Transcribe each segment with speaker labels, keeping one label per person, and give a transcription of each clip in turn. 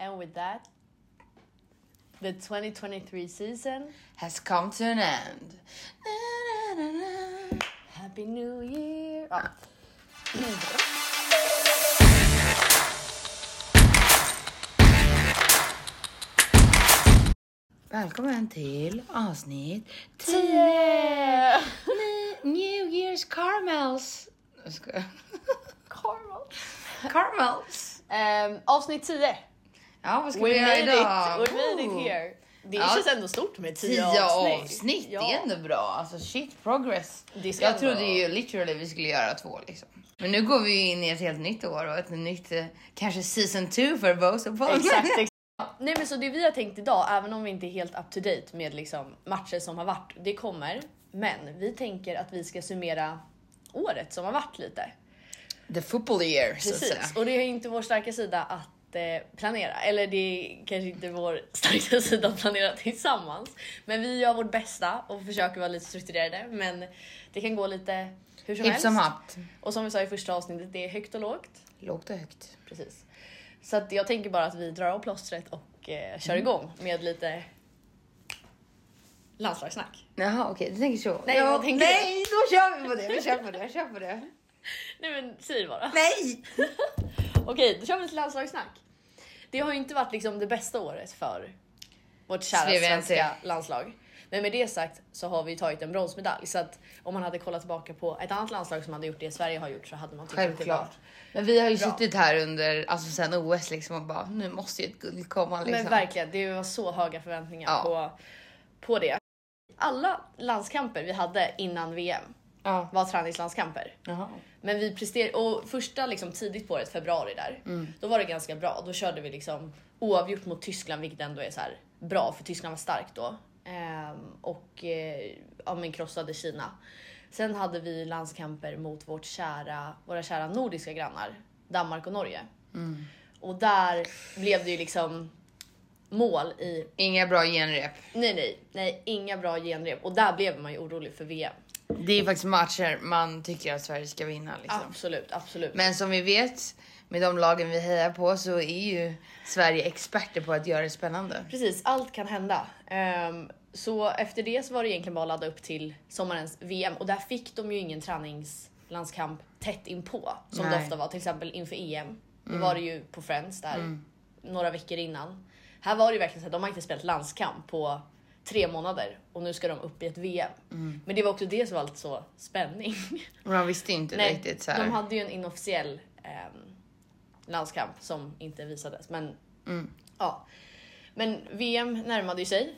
Speaker 1: And with that, the 2023 season.
Speaker 2: Has come to an end. Na, na, na, na.
Speaker 1: Happy New Year! Ja.
Speaker 2: Välkommen till avsnitt 10!
Speaker 1: Tio!
Speaker 2: New Year's Caramels. Jag skojar.
Speaker 1: Karma.
Speaker 2: Caramels.
Speaker 1: Ehm, avsnitt 10.
Speaker 2: Ja, vad ska vi
Speaker 1: We
Speaker 2: göra
Speaker 1: made
Speaker 2: idag?
Speaker 1: it! We made
Speaker 2: Oh.
Speaker 1: it here. Det
Speaker 2: Ja.
Speaker 1: känns ändå stort med 10
Speaker 2: Tio
Speaker 1: avsnitt.
Speaker 2: avsnitt,
Speaker 1: Ja.
Speaker 2: det är ändå bra. Alltså shit progress.
Speaker 1: Det ska
Speaker 2: Jag
Speaker 1: ändå-
Speaker 2: trodde ju literally vi skulle göra två liksom. Men nu går vi ju in i ett helt nytt år och ett nytt eh, kanske season 2 för Bows och Bones.
Speaker 1: Exakt, exakt. Nej men så det vi har tänkt idag, även om vi inte är helt up to date med liksom matcher som har varit, det kommer. Men vi tänker att vi ska summera året som har varit lite.
Speaker 2: The football year så att säga.
Speaker 1: Precis, och det är inte vår starka sida att eh, planera. Eller det är kanske inte vår starka sida att planera tillsammans. Men vi gör vårt bästa och försöker vara lite strukturerade. Men det kan gå lite hur som
Speaker 2: Hipp
Speaker 1: helst.
Speaker 2: som happ.
Speaker 1: Och som vi sa i första avsnittet, det är högt och lågt.
Speaker 2: Lågt och högt.
Speaker 1: Precis. Så att jag tänker bara att vi drar av plåstret och eh, kör
Speaker 2: Mm.
Speaker 1: igång med lite landslagssnack.
Speaker 2: Jaha okej, du tänker så.
Speaker 1: Nej, jag tänker-
Speaker 2: nej då kör vi på det. Vi kör på det. Kör på det.
Speaker 1: Nej men säg det bara.
Speaker 2: Nej!
Speaker 1: Okej, då kör vi lite landslagssnack. Det har ju inte varit liksom det bästa året för vårt kära
Speaker 2: Skriver jag
Speaker 1: svenska
Speaker 2: inte.
Speaker 1: landslag. Men med det sagt så har vi tagit en bronsmedalj så att om man hade kollat tillbaka på ett annat landslag som hade gjort det Sverige har gjort så hade man tyckt att det var...
Speaker 2: Självklart. Men vi har ju
Speaker 1: Bra.
Speaker 2: suttit här under, alltså sen OS liksom och bara nu måste ju ett guld komma liksom.
Speaker 1: Men verkligen, det var så höga förväntningar
Speaker 2: Ja.
Speaker 1: på, på det. Alla landskamper vi hade innan VM
Speaker 2: Ja.
Speaker 1: var träningslandskamper.
Speaker 2: Jaha.
Speaker 1: Men vi presterade, och första liksom tidigt på året, februari där, då var det ganska bra. Då körde vi liksom oavgjort mot Tyskland, vilket ändå är så här bra för Tyskland var starkt då. Ehm, och eh, ja, men krossade Kina. Sen hade vi landskamper mot vårt kära, våra kära nordiska grannar, Danmark och Norge. Och där blev det ju liksom mål i,
Speaker 2: Inga bra genrep.
Speaker 1: nej nej, nej inga bra genrep. Och där blev man ju orolig för Liksom. VM.
Speaker 2: Det är faktiskt matcher man tycker att Sverige ska vinna. Liksom.
Speaker 1: Absolut, absolut.
Speaker 2: Men som vi vet, med de lagen vi hejar på så är ju Sverige experter på att göra det spännande.
Speaker 1: Precis, allt kan hända. Ehm, så efter det så var det egentligen bara att ladda upp till sommarens VM och där fick de ju ingen träningslandskamp tätt inpå som det
Speaker 2: Nej.
Speaker 1: ofta var till exempel inför EM. Då var det ju på Friends där några veckor innan. Här var det ju verkligen så att de har inte spelat landskamp på tre månader och nu ska de upp i ett VM. Men det var också det som var lite så spänning.
Speaker 2: Man visste inte
Speaker 1: Nej,
Speaker 2: riktigt så här.
Speaker 1: de hade ju en inofficiell ehm, landskamp som inte visades. Men,
Speaker 2: Mm.
Speaker 1: ja. men VM närmade ju sig.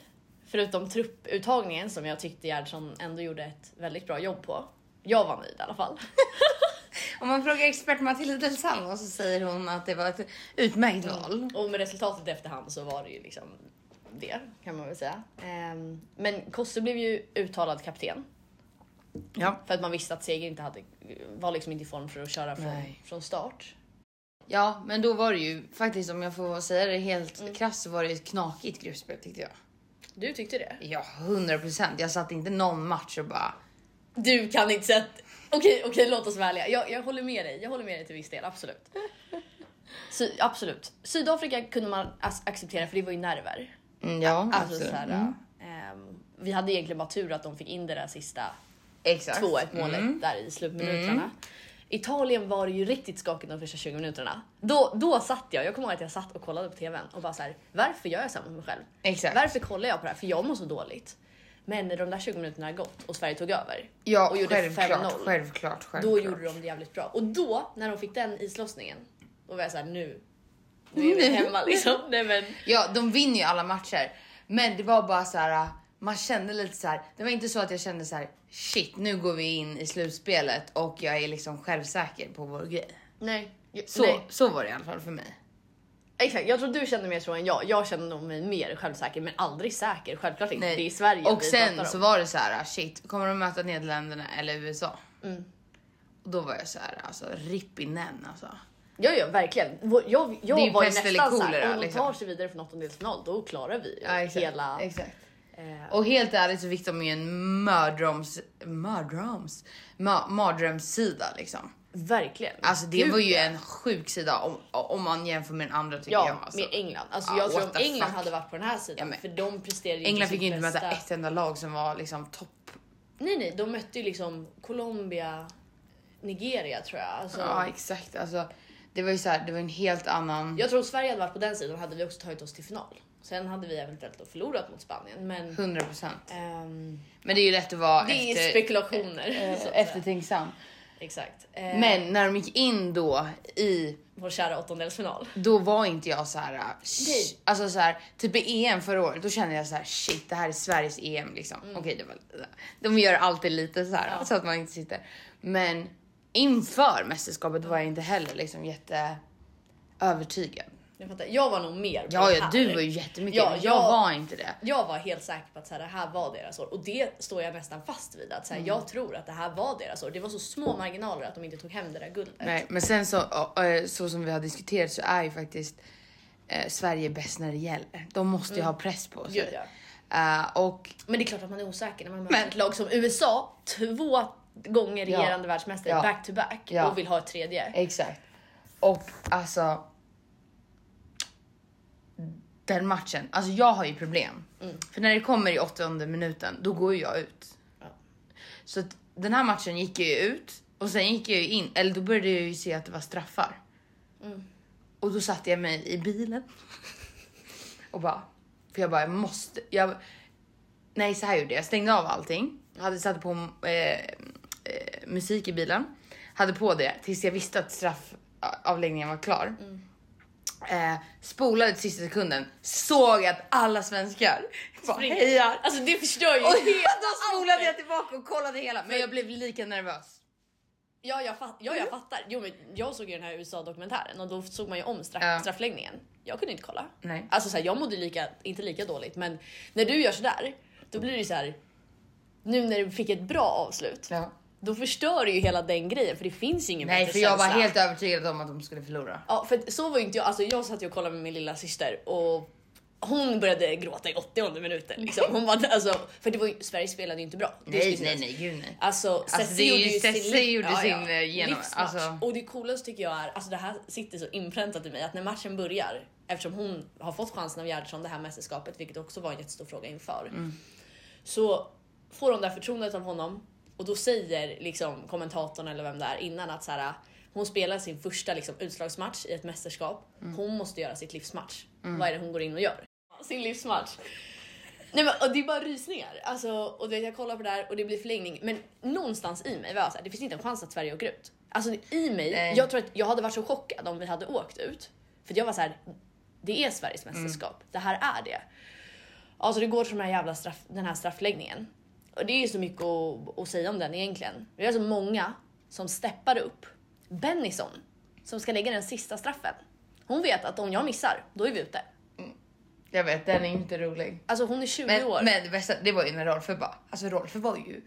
Speaker 1: Förutom trupputtagningen som jag tyckte Gerhardsson ändå gjorde ett väldigt bra jobb på. Jag var nöjd i alla fall.
Speaker 2: Om man frågar expert Matilda Delzano så säger hon att det var ett utmärkt val.
Speaker 1: Och med resultatet i efterhand så var det ju liksom det kan man väl säga. Ehm, men Kosse blev ju uttalad kapten.
Speaker 2: Ja.
Speaker 1: För att man visste att Seger inte hade, var liksom inte i form för att köra från,
Speaker 2: Nej.
Speaker 1: från start.
Speaker 2: ja, men då var det ju faktiskt om jag får säga det helt
Speaker 1: Mm.
Speaker 2: krasst så var det ett knakigt gruppspel tyckte jag.
Speaker 1: Du tyckte det?
Speaker 2: Ja, 100 procent. Jag satt inte någon match och bara
Speaker 1: Du kan inte säga att... Okej, okej, låt oss vara ärliga. Jag, jag håller med dig. Jag håller med dig till viss del, absolut. Sy, absolut. Sydafrika kunde man ac- acceptera för det var ju nerver.
Speaker 2: mm, ja,
Speaker 1: Alltså
Speaker 2: absolut.
Speaker 1: så här,
Speaker 2: Mm.
Speaker 1: ehm, vi hade egentligen bara tur att de fick in det där sista
Speaker 2: Exakt.
Speaker 1: 2-1 målet
Speaker 2: mm.
Speaker 1: där i slutminuterna. Italien var det ju riktigt skakigt de första 20 minuterna. Då, då satt jag, jag kommer ihåg att jag satt och kollade på TVn och bara så här, varför gör jag så här mot mig själv?
Speaker 2: Exakt.
Speaker 1: Varför kollar jag på det här? För jag mår så dåligt. Men när de där 20 minuterna hade gått och Sverige tog över
Speaker 2: Ja,
Speaker 1: och gjorde
Speaker 2: självklart,
Speaker 1: 5-0.
Speaker 2: självklart, självklart.
Speaker 1: Då gjorde de det jävligt bra. Och då, när de fick den islossningen, då var jag såhär nu, nu är vi hemma liksom. Nej men,
Speaker 2: Ja, de vinner ju alla matcher, men det var bara så här. Man kände lite så här. Det var inte så att jag kände så här. Shit, nu går vi in i slutspelet och jag är liksom självsäker på vår grej.
Speaker 1: nej. jag-
Speaker 2: Så,
Speaker 1: nej.
Speaker 2: så var det i alla fall för mig.
Speaker 1: Exakt, jag tror du kände mer så än jag. Jag kände nog mig mer självsäker, men aldrig säker. Självklart inte.
Speaker 2: Nej.
Speaker 1: Det är Sverige
Speaker 2: Och
Speaker 1: vi pratar
Speaker 2: sen
Speaker 1: om.
Speaker 2: så var det så här. ah, Shit, kommer de möta Nederländerna eller USA?
Speaker 1: Mm.
Speaker 2: Och då var jag så här. Alltså rippinen alltså.
Speaker 1: Ja, ja, verkligen. Vår- Jag, jag
Speaker 2: Det är ju
Speaker 1: var ju
Speaker 2: pest eller
Speaker 1: nästan såhär,
Speaker 2: kolera,
Speaker 1: om de
Speaker 2: liksom.
Speaker 1: tar sig vidare från åttondelsfinal, då klarar vi ju hela...
Speaker 2: Exakt.
Speaker 1: Eh,
Speaker 2: Och helt ärligt så fick de ju en mördroms, mördroms, ma- mardrömssida liksom.
Speaker 1: Verkligen.
Speaker 2: Alltså det
Speaker 1: Gud,
Speaker 2: var ju en sjuk sida om, om man jämför med den andra tycker jag.
Speaker 1: Ja,
Speaker 2: Alltså.
Speaker 1: med England. Alltså
Speaker 2: Ja,
Speaker 1: jag tror
Speaker 2: what
Speaker 1: om
Speaker 2: the
Speaker 1: England
Speaker 2: fuck.
Speaker 1: hade varit på den här sidan,
Speaker 2: Ja, men-
Speaker 1: för de presterade ju
Speaker 2: England
Speaker 1: inte
Speaker 2: fick ju
Speaker 1: sitt
Speaker 2: inte möta
Speaker 1: bästa.
Speaker 2: ett enda lag som var liksom topp.
Speaker 1: Nej, nej, de mötte ju liksom Colombia, Nigeria tror jag. Alltså,
Speaker 2: Ja exakt. Alltså, det var ju så här, det var en helt annan.
Speaker 1: Jag tror om Sverige hade varit på den sidan hade vi också tagit oss till final. Sen hade vi eventuellt då förlorat mot Spanien, men
Speaker 2: 100%.
Speaker 1: ehm,
Speaker 2: Men det är ju lätt att vara
Speaker 1: det är
Speaker 2: efter,
Speaker 1: spekulationer. så att
Speaker 2: eh,
Speaker 1: säga.
Speaker 2: eftertänksam.
Speaker 1: Exakt. Eh,
Speaker 2: Men när de gick in då i
Speaker 1: Vår kära åttondelsfinal.
Speaker 2: då var inte jag så här, äh, sh-
Speaker 1: Nej.
Speaker 2: alltså så här typ i EM förra året, då kände jag så här shit, det här är Sveriges EM liksom. Okej, det var, de gör alltid lite så här
Speaker 1: Mm. Ja.
Speaker 2: så att man inte sitter. Men inför mästerskapet var jag inte heller liksom jätte övertygad.
Speaker 1: Jag, fattar. jag var nog mer på
Speaker 2: Ja,
Speaker 1: det
Speaker 2: ja,
Speaker 1: här.
Speaker 2: du var ju jättemycket.
Speaker 1: Ja,
Speaker 2: men jag,
Speaker 1: jag-
Speaker 2: var inte det.
Speaker 1: Jag var helt säker på att så här, det här var deras år och det står jag nästan fast vid. Att så här,
Speaker 2: Mm.
Speaker 1: Jag tror att det här var deras år. Det var så små marginaler att de inte tog hem det där guldet.
Speaker 2: Nej, men sen så, ö, ö, så som vi har diskuterat så är ju faktiskt eh, Sverige bäst när det gäller. De måste ju ha press på sig.
Speaker 1: Mm. Gud, ja.
Speaker 2: Eh, och
Speaker 1: Men det är klart att man är osäker när man
Speaker 2: Men-
Speaker 1: möter ett lag som USA, två gånger
Speaker 2: Ja.
Speaker 1: regerande världsmästare
Speaker 2: Ja.
Speaker 1: back to back
Speaker 2: Ja. Eh,
Speaker 1: och vill ha ett tredje.
Speaker 2: Exakt. Och alltså. Den matchen, alltså jag har ju problem. För när det kommer i åttonde minuten, då går ju jag ut.
Speaker 1: Ja.
Speaker 2: Så att den här matchen gick jag ju ut och sen gick jag ju in, eller då började jag ju se att det var straffar. Och då satte jag mig i bilen. Och bara, för jag bara, jag måste, jag, nej så här gjorde jag, jag stängde av allting. Jag hade satt på eh, eh, musik i bilen. Hade på det tills jag visste att straffavläggningen var klar.
Speaker 1: Mm.
Speaker 2: Eh, spolade till sista sekunden, såg att alla svenskar bara
Speaker 1: Springer.
Speaker 2: hejar.
Speaker 1: Alltså det förstör ju
Speaker 2: Och
Speaker 1: helt.
Speaker 2: då spolade jag tillbaka och kollade hela, men jag blev lika nervös.
Speaker 1: Ja jag, fat, ja,
Speaker 2: Mm.
Speaker 1: jag fattar. Jo, men jag såg ju den här USA-dokumentären och då såg man ju om straff,
Speaker 2: Ja.
Speaker 1: straffläggningen. Jag kunde inte kolla.
Speaker 2: Nej.
Speaker 1: Alltså så här, jag mådde lika, inte lika dåligt, men när du gör sådär, då blir det ju så här. Nu när du fick ett bra avslut,
Speaker 2: Ja.
Speaker 1: då förstör du ju hela den grejen för det finns ju ingen
Speaker 2: Nej,
Speaker 1: bättre
Speaker 2: för jag var
Speaker 1: känsla.
Speaker 2: helt övertygad om att de skulle förlora.
Speaker 1: Ja, för att så var ju inte jag. Alltså jag satt ju och kollade med min lilla syster och hon började gråta i 80 minuten. Liksom. Hon var, alltså, för det var ju, Sverige spelade ju inte bra. Det ska
Speaker 2: Nej,
Speaker 1: sägas.
Speaker 2: nej, nej, gud nej.
Speaker 1: Alltså, Cessi
Speaker 2: det är
Speaker 1: gjorde
Speaker 2: ju-
Speaker 1: ju sin,
Speaker 2: Cessi
Speaker 1: liv-
Speaker 2: gjorde sin, eh, genom-
Speaker 1: livsmatch.
Speaker 2: alltså-
Speaker 1: Och det coolaste tycker jag är, alltså det här sitter så inpräntat i mig, att när matchen börjar, eftersom hon har fått chansen av Gerhardsson det här mästerskapet, vilket också var en jättestor fråga inför,
Speaker 2: Mm.
Speaker 1: så får hon det här förtroendet av honom och då säger liksom kommentatorn eller vem det är innan att så här, hon spelar sin första liksom, utslagsmatch i ett mästerskap.
Speaker 2: Mm.
Speaker 1: Hon måste göra sitt livsmatch. Vad är det hon går in och gör? Sin livsmatch. Nej, men, och det är bara rysningar. Alltså, och det, jag kollar på det här och det blir förlängning. Men någonstans i mig var jag så här, det finns inte en chans att Sverige åker ut. Alltså i mig,
Speaker 2: Nej.
Speaker 1: jag tror att jag hade varit så chockad om vi hade åkt ut. För jag var så här, det är Sveriges
Speaker 2: Mm.
Speaker 1: mästerskap. Det här är det. Alltså det går till den här jävla straff, den här straffläggningen. Och det är ju så mycket att, att säga om den egentligen. Det är så många som steppar upp. Bennison, som ska lägga den sista straffen. Hon vet att om jag missar, då är vi ute.
Speaker 2: Jag vet, den är inte rolig.
Speaker 1: Alltså hon är 20
Speaker 2: Men,
Speaker 1: år.
Speaker 2: men det bästa, det var ju när Rolfe bara, alltså Rolfe var ju,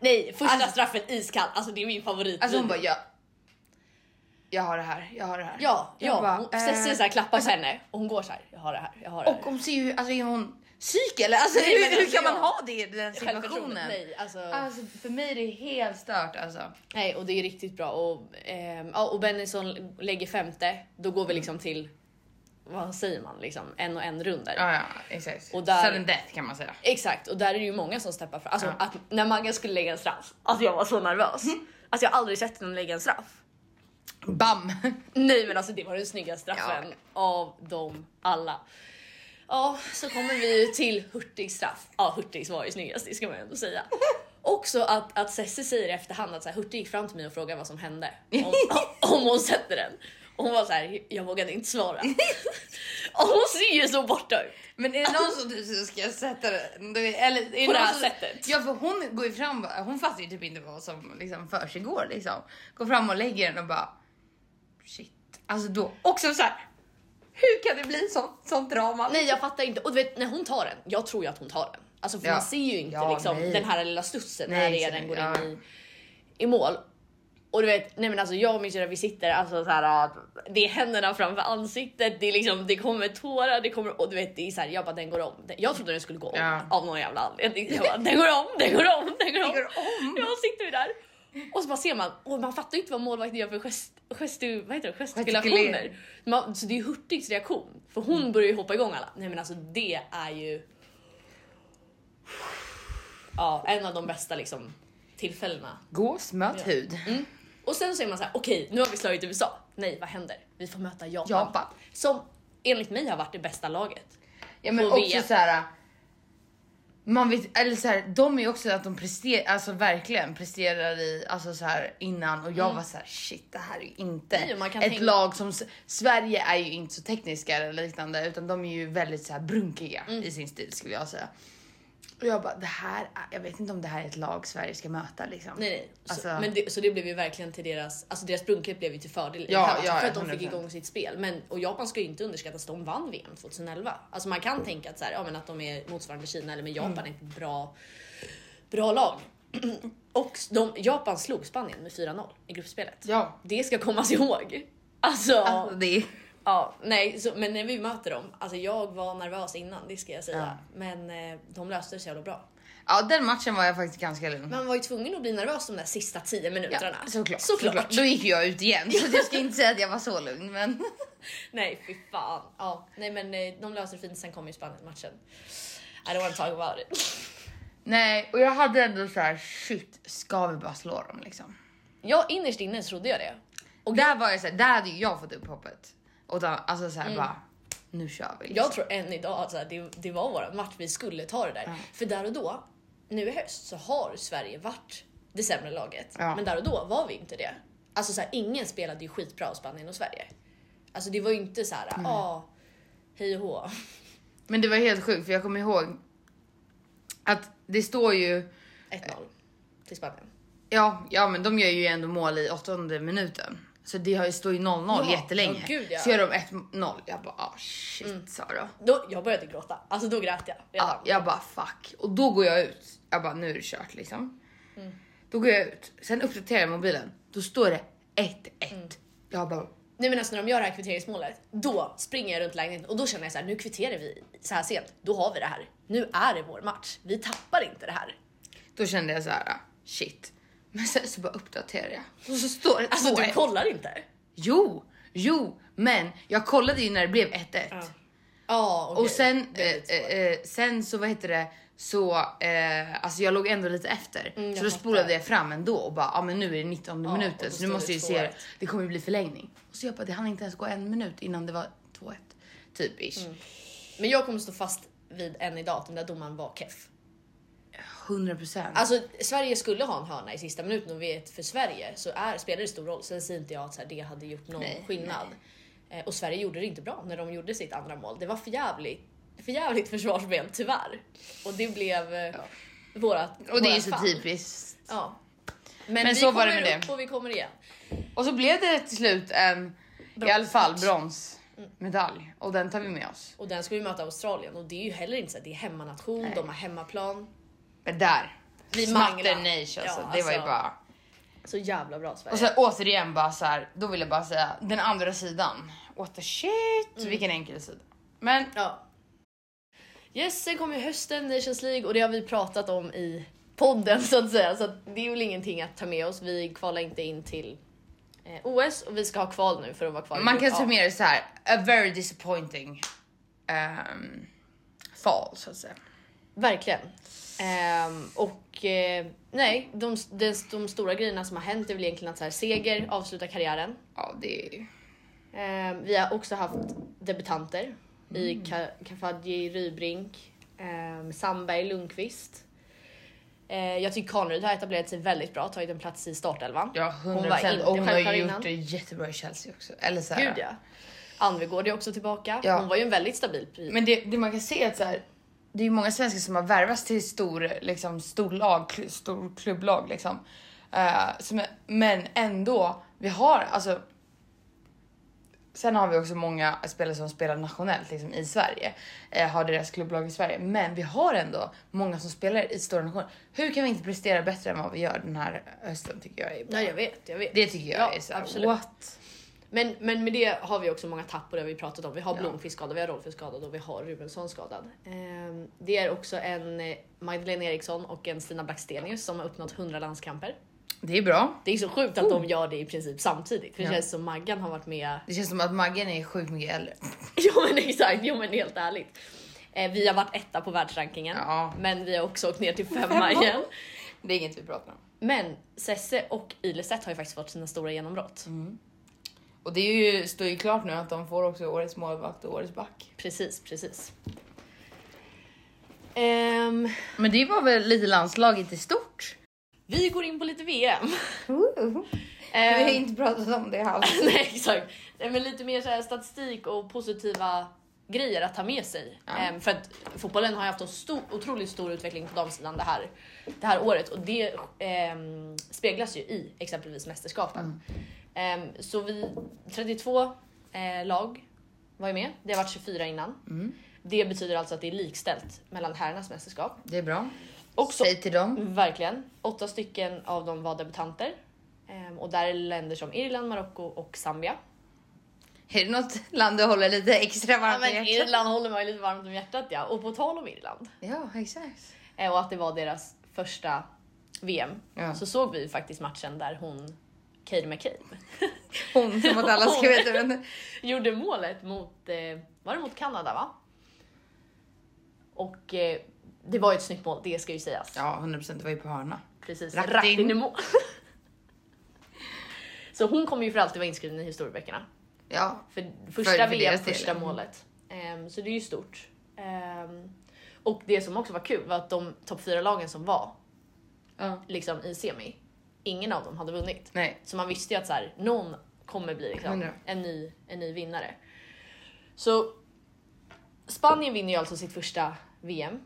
Speaker 1: Nej, första
Speaker 2: Alltså-
Speaker 1: straffen iskall. Alltså det är min favorit.
Speaker 2: alltså hon bara jag, jag har det här, jag har det här.
Speaker 1: ja,
Speaker 2: Jag
Speaker 1: ja.
Speaker 2: bara,
Speaker 1: hon-
Speaker 2: eh,
Speaker 1: Cessi så här klappar på henne och hon går så här. Jag har det här, jag har det här.
Speaker 2: Och om ser ju, alltså är hon psyk eller? Alltså,
Speaker 1: Nej,
Speaker 2: hur,
Speaker 1: men
Speaker 2: hur
Speaker 1: alltså,
Speaker 2: kan man
Speaker 1: jag-
Speaker 2: ha det i den
Speaker 1: Självförtroendet,
Speaker 2: situationen?
Speaker 1: Nej, alltså,
Speaker 2: Alltså för mig är det helt stört alltså.
Speaker 1: nej, och det är riktigt bra. Och, ehm, ja, och Bennison lägger femte, då
Speaker 2: Mm.
Speaker 1: går vi liksom till, vad säger man, liksom, en och en runder.
Speaker 2: Ja, ja exakt.
Speaker 1: Och där-
Speaker 2: Sudden death kan man säga.
Speaker 1: Exakt, och där är det ju många som steppar fram. Alltså, att, när Maggan skulle lägga en straff, alltså jag var så nervös.
Speaker 2: Mm.
Speaker 1: Alltså jag har aldrig sett någon lägga en straff.
Speaker 2: Bam!
Speaker 1: Nej men alltså det var den snyggaste straffen av dem alla. Ja, så kommer vi ju till Hurtigs straff. Ja, Hurtigs var ju snyggast, det ska man ju ändå säga. Också att, att Cessi säger i efterhand att så här, Hurtig gick fram till mig och frågade vad som hände om, om hon sätter den. Och hon var så här, jag vågade inte svara. och hon ser ju så borta ut.
Speaker 2: Men är det någon som du så ska jag sätta den? Du- Eller, är
Speaker 1: På det
Speaker 2: någon
Speaker 1: här
Speaker 2: som,
Speaker 1: sättet?
Speaker 2: Ja för hon går ju fram, bara- hon fattar ju typ inte vad som liksom försiggår liksom. Går fram och lägger den och bara shit. Alltså då, också så här. hur kan det bli sånt, sånt drama?
Speaker 1: Nej jag fattar inte. Och du vet när hon tar den, jag tror ju att hon tar den. Alltså för
Speaker 2: Ja.
Speaker 1: man ser ju inte
Speaker 2: Ja,
Speaker 1: liksom,
Speaker 2: nej.
Speaker 1: den här lilla studsen
Speaker 2: Nej,
Speaker 1: när det är den
Speaker 2: exakt.
Speaker 1: går in
Speaker 2: Ja.
Speaker 1: i, i mål. Och du vet, nej men alltså jag och min syrra vi sitter alltså så här, att det är händerna framför ansiktet, det, är liksom, det kommer tårar, det kommer och du vet det är så här, jag bara den går om. Den- Jag trodde den skulle gå om
Speaker 2: Ja.
Speaker 1: av någon jävla anledning. Jag bara, den går om, den går om, den går om.
Speaker 2: går om.
Speaker 1: Jag sitter ju där Och så bara ser man, och man fattar ju inte vad målvakten gör för gest, gestu, vad heter det,
Speaker 2: Gestikulering.
Speaker 1: gestikulationer. Man, så det är ju Hurtigs reaktion, för hon börjar ju hoppa igång alla. Nej men alltså det är ju... Ja, en av de bästa liksom tillfällena.
Speaker 2: Gås möt hud.
Speaker 1: Mm. Och sen så är man så här, okej nu har vi slagit USA. Nej, vad händer? Vi får möta Japan.
Speaker 2: Japan.
Speaker 1: Som enligt mig har varit det bästa laget.
Speaker 2: Ja men
Speaker 1: På
Speaker 2: också
Speaker 1: VM.
Speaker 2: så här. Man vet, eller så här, de är ju också att de presterar, alltså verkligen presterar i, alltså så här innan och jag var så här shit det här är ju inte
Speaker 1: Mm. Nej, man kan
Speaker 2: ett
Speaker 1: tänka-
Speaker 2: lag som, s- Sverige är ju inte så tekniska eller liknande utan de är ju väldigt så här brunkiga
Speaker 1: Mm.
Speaker 2: i sin stil skulle jag säga. Och jag bara det här, är- jag vet inte om det här är ett lag Sverige ska möta liksom.
Speaker 1: Nej, nej. Så,
Speaker 2: Alltså-
Speaker 1: men det, så det blev ju verkligen till deras, alltså deras brunkhet blev ju till fördel i
Speaker 2: Ja,
Speaker 1: det här matchen
Speaker 2: ja,
Speaker 1: för att de
Speaker 2: 100%.
Speaker 1: fick igång sitt spel. Men, och Japan ska ju inte underskattas, de vann VM 2011. Alltså man kan tänka att, så här, ja, men att de är motsvarande Kina eller men Japan
Speaker 2: Mm.
Speaker 1: är ett bra, bra lag. Och de, Japan slog Spanien med 4-0 i gruppspelet.
Speaker 2: Ja.
Speaker 1: Det ska kommas ihåg. Alltså,
Speaker 2: Alltså det är,
Speaker 1: ja, nej, så, men när vi möter dem, alltså jag var nervös innan, det ska jag säga. Men eh, de löste det så jävla bra.
Speaker 2: ja den matchen var jag faktiskt ganska lugn.
Speaker 1: Man var ju tvungen att bli nervös de där sista 10 minuterna.
Speaker 2: såklart,
Speaker 1: såklart.
Speaker 2: Då gick jag ut igen så jag ska inte säga att jag var så lugn men.
Speaker 1: Nej fy fan. Ja, nej men eh, de löser det fint, sen kom ju Spanien-matchen. I don't want to talk about it.
Speaker 2: Nej, och jag hade ändå så här shit, ska vi bara slå dem liksom?
Speaker 1: Ja, innerst inne trodde jag det.
Speaker 2: Och där var jag så här, där hade ju jag fått upp hoppet. Och då, alltså
Speaker 1: Mm.
Speaker 2: så här bara, nu kör vi. Liksom.
Speaker 1: Jag tror än idag att så här, det, det var våran match, vi skulle ta det där. För där och då, nu i höst, så har Sverige varit det sämre laget.
Speaker 2: Ja.
Speaker 1: Men där och då var vi inte det. Alltså så här, ingen spelade ju skitbra av Spanien och Sverige. Alltså det var ju inte så här, ja, ah, hej och hå.
Speaker 2: Men det var helt sjukt för jag kommer ihåg att det står ju,
Speaker 1: 1-0 till Spanien.
Speaker 2: ja, ja men de gör ju ändå mål i åttonde minuten. Så det har ju står ju 0-0
Speaker 1: Ja,
Speaker 2: jättelänge.
Speaker 1: ja, gud, ja. Mm.
Speaker 2: Så gör de 1-0, jag bara ah, shit Sara.
Speaker 1: Då, jag började gråta, alltså då grät jag redan.
Speaker 2: Ja, jag bara fuck. Och då går jag ut. Jag bara nu är det kört liksom.
Speaker 1: Mm.
Speaker 2: Då går jag ut. Sen uppdaterar jag mobilen. Då står det 1-1.
Speaker 1: Mm.
Speaker 2: Jag bara
Speaker 1: Nej men alltså när de gör det här kvitteringsmålet, då springer jag runt lägenheten och då känner jag så här, nu kvitterar vi så här sent, då har vi det här. Nu är det vår match, vi tappar inte det här.
Speaker 2: Då kände jag så här ah, shit. Men sen så bara uppdaterar jag och så står det
Speaker 1: Alltså
Speaker 2: 2-1.
Speaker 1: du kollar inte?
Speaker 2: Jo, jo, men jag kollade ju när det blev 1-1
Speaker 1: Ja okej.
Speaker 2: och sen,
Speaker 1: Det är
Speaker 2: eh,
Speaker 1: lite svårt.
Speaker 2: eh, eh, sen så vad heter det så eh, alltså jag låg ändå lite efter
Speaker 1: Mm, jag
Speaker 2: så då
Speaker 1: fattar.
Speaker 2: spolade jag fram ändå och bara ja, men nu är det 19
Speaker 1: och då
Speaker 2: minuten så
Speaker 1: stod
Speaker 2: nu måste
Speaker 1: det
Speaker 2: jag ju se
Speaker 1: 2-1.
Speaker 2: det kommer ju bli förlängning och så jag bara det hann inte ens gå en minut innan det var 2-1 typ ish.
Speaker 1: Mm. Men jag kommer stå fast vid än idag att den där domaren var keff.
Speaker 2: 100%.
Speaker 1: Alltså Sverige skulle ha en hörna i sista minuten och vet för Sverige så är, spelar det stor roll. Sen säger inte jag att så här, det hade gjort någon
Speaker 2: Nej,
Speaker 1: skillnad. Eh, Och Sverige gjorde det inte bra när de gjorde sitt andra mål. Det var för jävligt, för jävligt försvarsspel tyvärr. Och det blev eh, vårat
Speaker 2: och det är ju
Speaker 1: vårat
Speaker 2: så
Speaker 1: fall.
Speaker 2: typiskt.
Speaker 1: Ja. Men,
Speaker 2: Men
Speaker 1: vi
Speaker 2: så var det
Speaker 1: kommer
Speaker 2: med
Speaker 1: upp
Speaker 2: det.
Speaker 1: och vi kommer igen.
Speaker 2: Och så blev det till slut en i alla fall
Speaker 1: Mm.
Speaker 2: bronsmedalj och den tar vi med oss.
Speaker 1: Och den ska vi möta Australien och det är ju heller inte så att det är hemmanation, de har hemmaplan.
Speaker 2: Men där,
Speaker 1: Vi
Speaker 2: smatter
Speaker 1: manglar.
Speaker 2: nation alltså.
Speaker 1: Ja,
Speaker 2: det var ju
Speaker 1: alltså.
Speaker 2: bara.
Speaker 1: Så jävla bra Sverige.
Speaker 2: Och så återigen bara så här, då vill jag bara säga den andra sidan. What the shit,
Speaker 1: Mm.
Speaker 2: vilken enkel sida. Men
Speaker 1: Ja. Yes, sen kommer ju hösten, Nations League och det har vi pratat om i podden så att säga. Så att det är väl ingenting att ta med oss. Vi kvalar inte in till eh, OS och vi ska ha kval nu för att vara kvar i
Speaker 2: man kan
Speaker 1: grupp A.
Speaker 2: summera det så här, a very disappointing ehm, fall så att säga.
Speaker 1: Verkligen. Ehm, och eh, nej, de, de, de stora grejerna som har hänt är väl egentligen att så här, Seger avslutar karriären.
Speaker 2: Ja, det är
Speaker 1: Ehm, vi har också haft debutanter i
Speaker 2: Mm.
Speaker 1: Ka- Kafadji Rybrink, um, Sandberg Lundqvist. Eh, jag tycker Kaneryd har etablerat sig väldigt bra, tagit en plats i startelvan.
Speaker 2: ja,
Speaker 1: Hon var
Speaker 2: 100%
Speaker 1: inte
Speaker 2: och hon har
Speaker 1: självklar
Speaker 2: ju gjort
Speaker 1: innan.
Speaker 2: det jättebra i Chelsea också. Eller så här,
Speaker 1: Gud ja. Anvegård är också tillbaka.
Speaker 2: Ja.
Speaker 1: Hon var ju en väldigt stabil pri-
Speaker 2: Men det, det man kan se är att så här, det är ju många svenskar som har värvats till stor, liksom, stor lag, kl, stor klubblag liksom. Eh, som är, men ändå, vi har alltså. Sen har vi också många spelare som spelar nationellt liksom, i Sverige, eh, har deras klubblag i Sverige. Men vi har ändå många som spelar i stora nationer. Hur kan vi inte prestera bättre än vad vi gör den här hösten tycker jag är bra.
Speaker 1: Nej jag vet, jag vet.
Speaker 2: Det tycker jag
Speaker 1: Ja,
Speaker 2: är så här,
Speaker 1: absolut.
Speaker 2: what?
Speaker 1: Men, men med det har vi också många tapp och det har vi pratat om. Vi har Blomqvist skadad, vi har Rolfsson skadad och vi har Rubensson skadad. Ehm, Det är också en eh, Magdalena Eriksson och en Stina Blackstenius som har uppnått 100 landskamper.
Speaker 2: Det är bra.
Speaker 1: Det är så sjukt att de gör det i princip samtidigt. För det
Speaker 2: Ja.
Speaker 1: känns som Maggan har varit med.
Speaker 2: Det känns som att Maggan är sjukt mycket äldre.
Speaker 1: Jo men exakt, jo men helt ärligt. Eh, vi har varit etta på världsrankingen,
Speaker 2: Ja.
Speaker 1: men vi har också åkt ner till femma igen.
Speaker 2: Det är inget vi pratar om.
Speaker 1: Men Sesse och Ilestedt har ju faktiskt fått sina stora genombrott.
Speaker 2: Och det är ju, står ju klart nu att de får också årets målvakt och årets back.
Speaker 1: Precis, precis. Ehm,
Speaker 2: Men det var väl lite landslaget i stort?
Speaker 1: vi går in på lite VM.
Speaker 2: Eh. Vi har
Speaker 1: Ehm,
Speaker 2: inte pratat om det alls.
Speaker 1: Nej exakt. Nej, men lite mer så här statistik och positiva grejer att ta med sig.
Speaker 2: Ja.
Speaker 1: Ehm, för att fotbollen har ju haft en stor, otroligt stor utveckling på damsidan det här, det här året och det ehm, speglas ju i exempelvis mästerskapen.
Speaker 2: Mm.
Speaker 1: Ehm, så vi, 32 eh, lag var ju med. Det har varit 24 innan.
Speaker 2: Mm.
Speaker 1: Det betyder alltså att det är likställt mellan herrarnas mästerskap.
Speaker 2: Det är bra.
Speaker 1: Och så
Speaker 2: Säg till dem.
Speaker 1: Verkligen. Åtta stycken av dem var debutanter. Ehm, och där är länder som Irland, Marocko och Zambia.
Speaker 2: Är det något land du håller lite extra
Speaker 1: Ja,
Speaker 2: varmt
Speaker 1: men
Speaker 2: i hjärtat?
Speaker 1: Irland håller man ju lite varmt om hjärtat ja. Och på tal om Irland
Speaker 2: Ja, exakt.
Speaker 1: eh, och att det var deras första VM
Speaker 2: Ja.
Speaker 1: så såg vi ju faktiskt matchen där hon Katie McCabe
Speaker 2: Hon som åt alla ska
Speaker 1: Hon.
Speaker 2: veta vem det
Speaker 1: gjorde målet mot, eh, var det mot Kanada va? Och eh, det var ju ett snyggt mål, det ska ju sägas.
Speaker 2: Ja, 100% det var ju på hörna.
Speaker 1: Precis,
Speaker 2: Rattin.
Speaker 1: Rattin i mål. så hon kommer ju för alltid vara inskriven i historieböckerna.
Speaker 2: Ja,
Speaker 1: För första
Speaker 2: för
Speaker 1: VM,
Speaker 2: deras del,
Speaker 1: första
Speaker 2: ja. Mm.
Speaker 1: målet. Ehm, så det är ju stort. Ehm, och det som också var kul var att de topp fyra lagen som var
Speaker 2: Ja.
Speaker 1: liksom, i semi, ingen av dem hade vunnit.
Speaker 2: Nej.
Speaker 1: Så man visste ju att så här, någon kommer bli liksom,
Speaker 2: Hundra.
Speaker 1: en, ny, en ny vinnare. Så Spanien vinner ju alltså sitt första VM.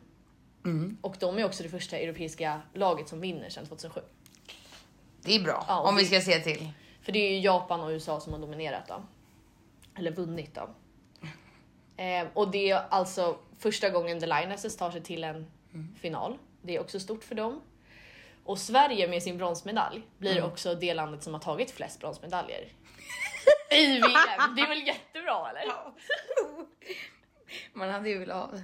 Speaker 2: Mm.
Speaker 1: Och de är också det första europeiska laget som vinner sedan 2007.
Speaker 2: Det är bra
Speaker 1: Ja, och
Speaker 2: om vi
Speaker 1: det-
Speaker 2: ska se till.
Speaker 1: För det är ju Japan och USA som har dominerat då. Eller vunnit då. Ehm, och det är alltså första gången The Lionesses tar sig till en final. Det är också stort för dem. Och Sverige med sin bronsmedalj blir också det landet som har tagit flest bronsmedaljer. I VM. Det är väl jättebra eller?
Speaker 2: Man hade ju velat ha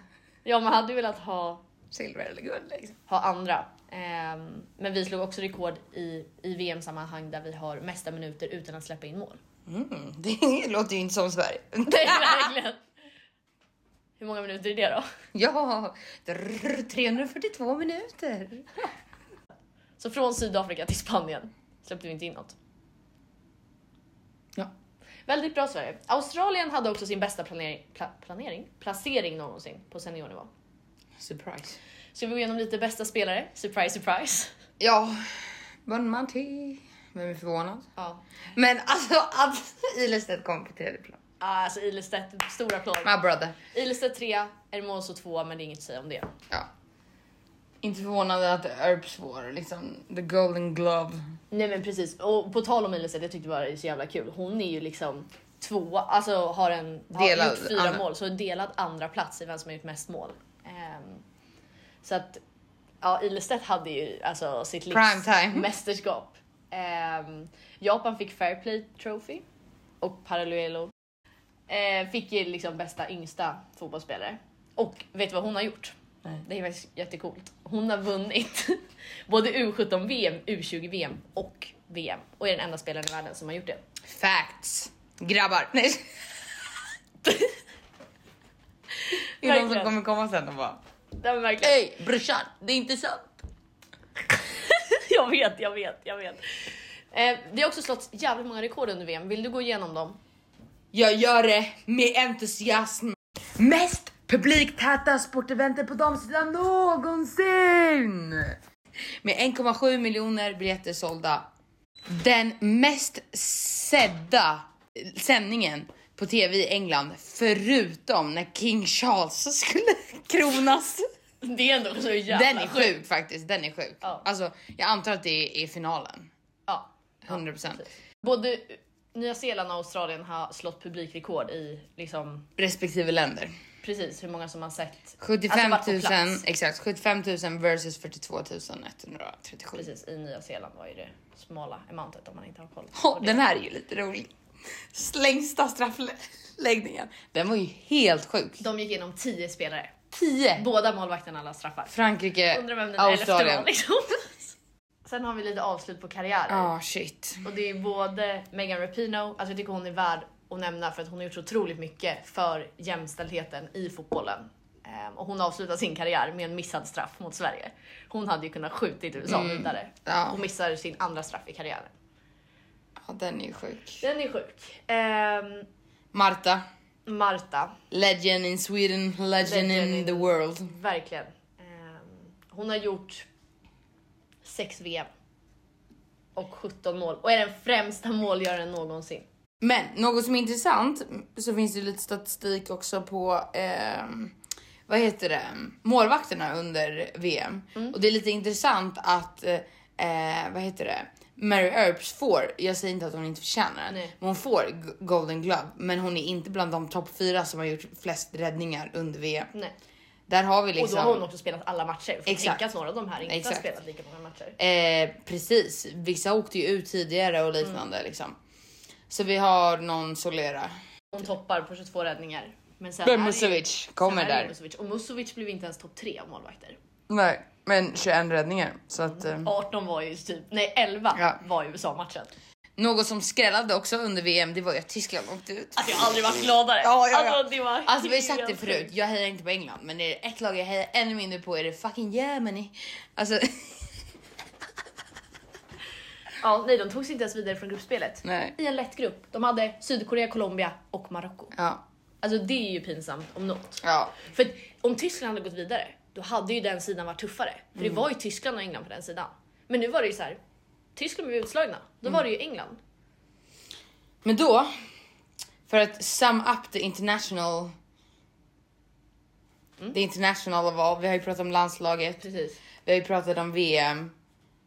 Speaker 1: Ja, man hade ju velat ha,
Speaker 2: silver eller guld liksom.
Speaker 1: ha andra. Ehm, men vi slog också rekord i, i VM-sammanhang där vi har mesta minuter utan att släppa in mål.
Speaker 2: Mm, det låter ju inte som Sverige.
Speaker 1: Nej, verkligen. Hur många minuter är det då?
Speaker 2: Ja, drr, 342 minuter.
Speaker 1: Så från Sydafrika till Spanien släppte vi inte in något.
Speaker 2: Ja.
Speaker 1: Väldigt bra Sverige. Australien hade också sin bästa planering, pla, planering? placering någonsin på seniornivå.
Speaker 2: Surprise.
Speaker 1: Så vi går igenom lite bästa spelare. Surprise, surprise.
Speaker 2: Ja, Bonmati. Vem är förvånad?
Speaker 1: Ja.
Speaker 2: Men alltså att Ilestedt kom på tredje plan.
Speaker 1: Alltså Ilestedt, stor applåd.
Speaker 2: My brother.
Speaker 1: Ilestedt 3, Hermoso 2, men det är inget att säga om det.
Speaker 2: Ja. Inte förvånande att Erbs får liksom the golden glove.
Speaker 1: Nej men precis, och på tal om Ilestedt, jag tyckte bara det är så jävla kul. Hon är ju liksom tvåa, alltså har en
Speaker 2: Delad
Speaker 1: har gjort fyra
Speaker 2: andra.
Speaker 1: mål, så delad andra plats i vem som har gjort mest mål. Ehm, så att ja, Ilestedt hade ju alltså sitt
Speaker 2: Prime time.
Speaker 1: mästerskap. Ehm, Japan fick Fair Play Trophy och Parallelo eh, fick ju liksom bästa yngsta fotbollsspelare. Och vet du vad hon har gjort?
Speaker 2: Nej.
Speaker 1: Det är faktiskt jättecoolt. Hon har vunnit både U17-VM, U20-VM och VM och är den enda spelaren i världen som har gjort det.
Speaker 2: Facts. Grabbar. Nej. det är någon som
Speaker 1: Verkligen.
Speaker 2: kommer komma sen och bara
Speaker 1: Det var verkligen...
Speaker 2: Hej brorsan, det är inte sant.
Speaker 1: Jag vet, jag vet, jag vet. Eh, det har också slått jävligt många rekord under VM. Vill du gå igenom dem?
Speaker 2: Jag gör det med entusiasm. Mest publiktäta sporteventer på damsidan någonsin. Med 1,7 miljoner biljetter sålda. Den mest sedda sändningen på tv i England förutom när King Charles skulle kronas.
Speaker 1: Det är ändå så jävla
Speaker 2: Den är sjuk faktiskt, den är sjuk.
Speaker 1: Ja.
Speaker 2: Alltså, jag antar att det är finalen.
Speaker 1: Ja.
Speaker 2: 100%.
Speaker 1: Både Nya Zeeland och Australien har slått publikrekord i liksom
Speaker 2: Respektive länder.
Speaker 1: precis hur många som har sett
Speaker 2: Alltså, 75
Speaker 1: varit på
Speaker 2: 000,
Speaker 1: plats.
Speaker 2: exakt 75 000 versus 42 137.
Speaker 1: Precis, i Nya Zeeland var ju det smala emantet om man inte har koll.
Speaker 2: Åh, den här är ju lite rolig. Slängsta straffläggningen. Den var ju helt sjuk.
Speaker 1: De gick igenom 10 spelare.
Speaker 2: 10.
Speaker 1: Båda målvakterna alla straffar.
Speaker 2: Frankrike,
Speaker 1: Undrar vem den elfte var
Speaker 2: Australien.
Speaker 1: liksom. Sen har vi lite avslut på karriärer.
Speaker 2: Ah shit.
Speaker 1: Och det är både Megan Rapinoe, alltså jag tycker hon är värd att nämna för att hon har gjort så otroligt mycket för jämställdheten i fotbollen. Ehm, Och hon avslutar sin karriär med en missad straff mot Sverige. Hon hade ju kunnat skjutit USA vidare.
Speaker 2: Ja.
Speaker 1: Hon missar sin andra straff i karriären.
Speaker 2: Ja, den är ju sjuk.
Speaker 1: Den är sjuk. Ehm,
Speaker 2: Marta.
Speaker 1: Marta,
Speaker 2: Legend in Sweden, legend,
Speaker 1: Legend
Speaker 2: in
Speaker 1: in-
Speaker 2: the world.
Speaker 1: verkligen. Ehm, Hon har gjort sex VM och 17 mål och är den främsta målgöraren någonsin.
Speaker 2: Men något som är intressant så finns det ju lite statistik också på ehm, vad heter det? Målvakterna under VM.
Speaker 1: Mm.
Speaker 2: Och det är lite intressant att eh, eh, vad heter det? Mary Earps får, jag säger inte att hon inte förtjänar den,
Speaker 1: Nej.
Speaker 2: men hon får G- Golden Glove. Men hon är inte bland de topp fyra som har gjort flest räddningar under VM.
Speaker 1: Nej.
Speaker 2: Där har vi
Speaker 1: Och
Speaker 2: liksom...
Speaker 1: då har hon också spelat alla matcher. För att
Speaker 2: Exakt.
Speaker 1: tänka att några av de här inte
Speaker 2: Exakt.
Speaker 1: har spelat lika många matcher.
Speaker 2: Eh, precis, vissa åkte ju ut tidigare och liknande
Speaker 1: Mm.
Speaker 2: liksom. Så vi har någon Solera.
Speaker 1: Hon toppar på 22 räddningar. Men sen är det ju-
Speaker 2: Musovic
Speaker 1: sen
Speaker 2: kommer
Speaker 1: är det ju
Speaker 2: där.
Speaker 1: Musovic. Och Musovic blev inte ens topp 3 av målvakter.
Speaker 2: Nej, men 21 räddningar. Så att, eh.
Speaker 1: 18 var ju typ, nej 11
Speaker 2: Ja.
Speaker 1: var ju USA-matchen.
Speaker 2: Något som skrällade också under VM, det var ju att Tyskland åkte ut.
Speaker 1: Alltså jag har aldrig varit gladare.
Speaker 2: Ja, ja, ja.
Speaker 1: Alltså det var
Speaker 2: Alltså vi har ju
Speaker 1: helt
Speaker 2: sagt det förut,
Speaker 1: sjukt.
Speaker 2: jag hejar inte på England, men är det ett lag jag hejar ännu mindre på är det fucking Germany. Alltså,
Speaker 1: Ja, nej de tog sig inte ens vidare från gruppspelet.
Speaker 2: nej.
Speaker 1: I en lätt grupp. De hade Sydkorea, Colombia och Marocko.
Speaker 2: Ja,
Speaker 1: Alltså det är ju pinsamt om något.
Speaker 2: ja,
Speaker 1: För att om Tyskland hade gått vidare, då hade ju den sidan varit tuffare. För
Speaker 2: Mm.
Speaker 1: det var ju Tyskland och England på den sidan. Men nu var det ju så här. Tyskland blev utslagna, då
Speaker 2: Mm.
Speaker 1: var det ju England.
Speaker 2: Men då, för att sum up the international...
Speaker 1: Mm.
Speaker 2: The international of all, vi har ju pratat om landslaget,
Speaker 1: Precis.
Speaker 2: vi har ju pratat om VM.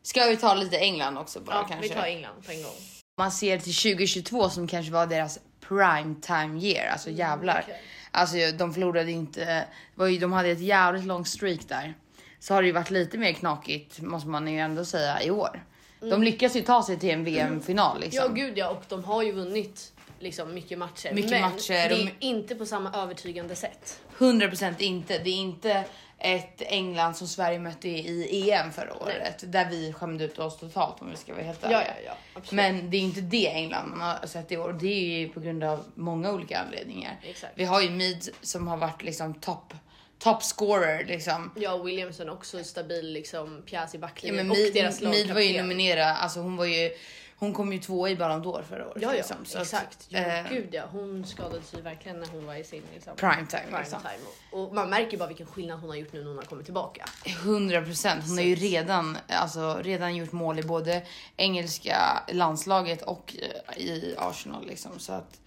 Speaker 2: Ska vi ta lite England också bara
Speaker 1: Ja,
Speaker 2: kanske?
Speaker 1: vi tar England på en gång.
Speaker 2: Man ser till 2022 som kanske var deras prime time year, alltså jävlar.
Speaker 1: Mm, okej.
Speaker 2: Alltså de förlorade inte, var ju, de hade ett jävligt långt streak där. Så har det ju varit lite mer knakigt måste man ju ändå säga i år. De lyckas ju ta sig till en VM-final liksom.
Speaker 1: Mm. Ja gud ja, och de har ju vunnit liksom mycket matcher.
Speaker 2: Mycket
Speaker 1: men
Speaker 2: matcher,
Speaker 1: det är
Speaker 2: de-
Speaker 1: ju inte på samma övertygande sätt.
Speaker 2: 100% inte. Det är inte ett England som Sverige mötte i EM förra året där vi skämde ut oss totalt om vi ska vara helt ärliga.
Speaker 1: ja. Absolut.
Speaker 2: Men det är inte det England man har sett i år. Det är ju på grund av många olika anledningar.
Speaker 1: Exakt.
Speaker 2: Vi har ju Mead som har varit liksom top, top scorer liksom.
Speaker 1: Ja, Williamson också stabil liksom pjäs i
Speaker 2: Ja,
Speaker 1: backlinjen
Speaker 2: men
Speaker 1: och
Speaker 2: Mead,
Speaker 1: deras
Speaker 2: Mead var ju
Speaker 1: lagkapten.
Speaker 2: nominerad, alltså hon var ju, hon kom ju tvåa i Ballon d'Or förra året.
Speaker 1: Ja, ja,
Speaker 2: liksom. Så att,
Speaker 1: exakt. Jo,
Speaker 2: eh,
Speaker 1: gud ja, hon skadade sig verkligen när hon var i sin liksom,
Speaker 2: prime time,
Speaker 1: prime
Speaker 2: liksom.
Speaker 1: time. Och, och man märker bara vilken skillnad hon har gjort nu när hon har kommit tillbaka.
Speaker 2: 100 procent. Hon har ju redan, alltså, redan gjort mål i både engelska landslaget och eh, i Arsenal. Liksom. Så att,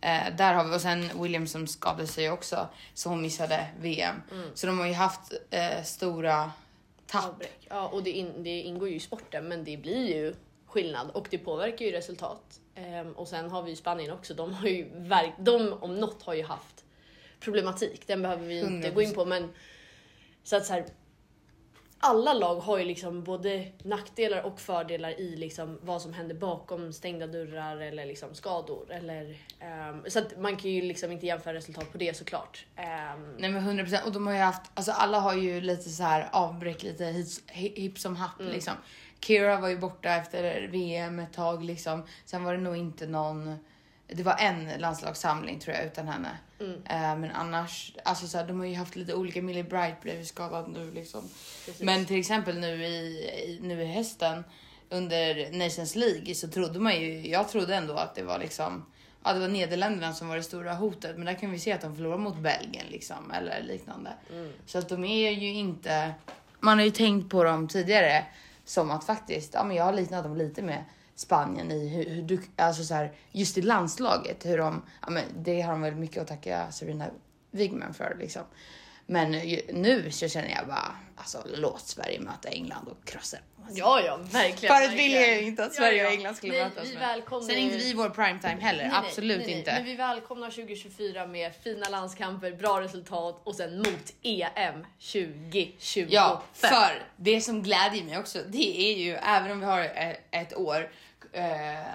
Speaker 2: eh, där har vi, och sen Williamson skadade sig också så hon missade VM. Så de har ju haft eh, stora tapp.
Speaker 1: Avbräck. Ja, och det, in, det ingår ju i sporten, men det blir ju skillnad och det påverkar ju resultat. Ehm, och sen har vi ju Spanien också. De har ju verk, de om något har ju haft problematik. Den behöver vi ju inte gå in på, men så att så här. Alla lag har ju liksom både nackdelar och fördelar i liksom vad som händer bakom stängda dörrar eller liksom skador. Eller, ehm, så att man kan ju liksom inte jämföra resultat på det såklart. Ehm,
Speaker 2: Nej men 100 procent. Och de har ju haft, alltså alla har ju lite så här avbräck, lite hits- hi- hipp som happ liksom. Kira var ju borta efter VM ett tag liksom. Sen var det nog inte någon, det var en landslagssamling tror jag utan henne. Eh, men annars, alltså så här, de har ju haft lite olika. Millie Bright blev ju skadad nu liksom. Men till exempel nu i, i, nu i hösten under Nations League så trodde man ju, jag trodde ändå att det var liksom Ja, det var Nederländerna som var det stora hotet, men där kan vi se att de förlorar mot Belgien liksom eller liknande. Så att de är ju inte. Man har ju tänkt på dem tidigare som att faktiskt, ja, men jag har liknat dem lite med Spanien i hur, hur du, alltså så här, just i landslaget, hur de, ja, men det har de väl mycket att tacka Serena Wigman för liksom. Men ju- nu så känner jag bara, alltså låt Sverige möta England och krossa.
Speaker 1: Ja, ja, verkligen.
Speaker 2: Förut
Speaker 1: verkligen.
Speaker 2: ville Alltså, jag ju inte att Sverige och England skulle
Speaker 1: nej,
Speaker 2: mötas.
Speaker 1: Vi
Speaker 2: men-
Speaker 1: välkomnar
Speaker 2: Sen är inte
Speaker 1: ju-
Speaker 2: vi i vår primetime heller,
Speaker 1: Nej, nej,
Speaker 2: absolut
Speaker 1: nej, nej.
Speaker 2: inte.
Speaker 1: Men vi välkomnar 2024 med fina landskamper, bra resultat och sen mot E EM 2025.
Speaker 2: Ja, för det som glädjer mig också, det är ju även e- om vi har eh, ett år eh,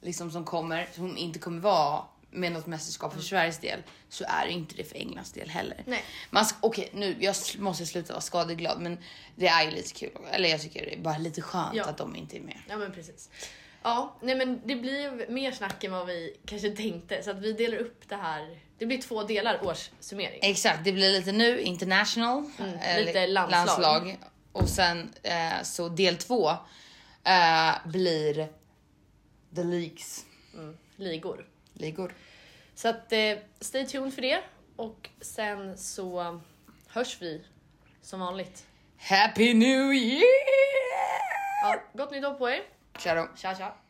Speaker 2: liksom som kommer som inte kommer vara med något mästerskap för Sveriges del så är det inte det för Englands del heller.
Speaker 1: Nej.
Speaker 2: Man ska, okej, nu jag s- måste sluta vara skadeglad, men det är ju lite kul. Eller jag tycker det är bara lite skönt
Speaker 1: Ja.
Speaker 2: att de inte är med.
Speaker 1: Ja men precis. Ja, nej men det blir ju mer snack än vad vi kanske tänkte så att vi delar upp det här. Det blir två delar årssummering.
Speaker 2: Exakt, det blir lite nu international, eh,
Speaker 1: Mm, lite landslag.
Speaker 2: och sen eh, så del två eh, blir the leagues
Speaker 1: Ligor.
Speaker 2: ligor.
Speaker 1: Så att eh, stay tuned för det och sen så hörs vi som vanligt.
Speaker 2: Happy New Year!
Speaker 1: Ja, gott nytt år på er.
Speaker 2: Claro.
Speaker 1: Tja tja.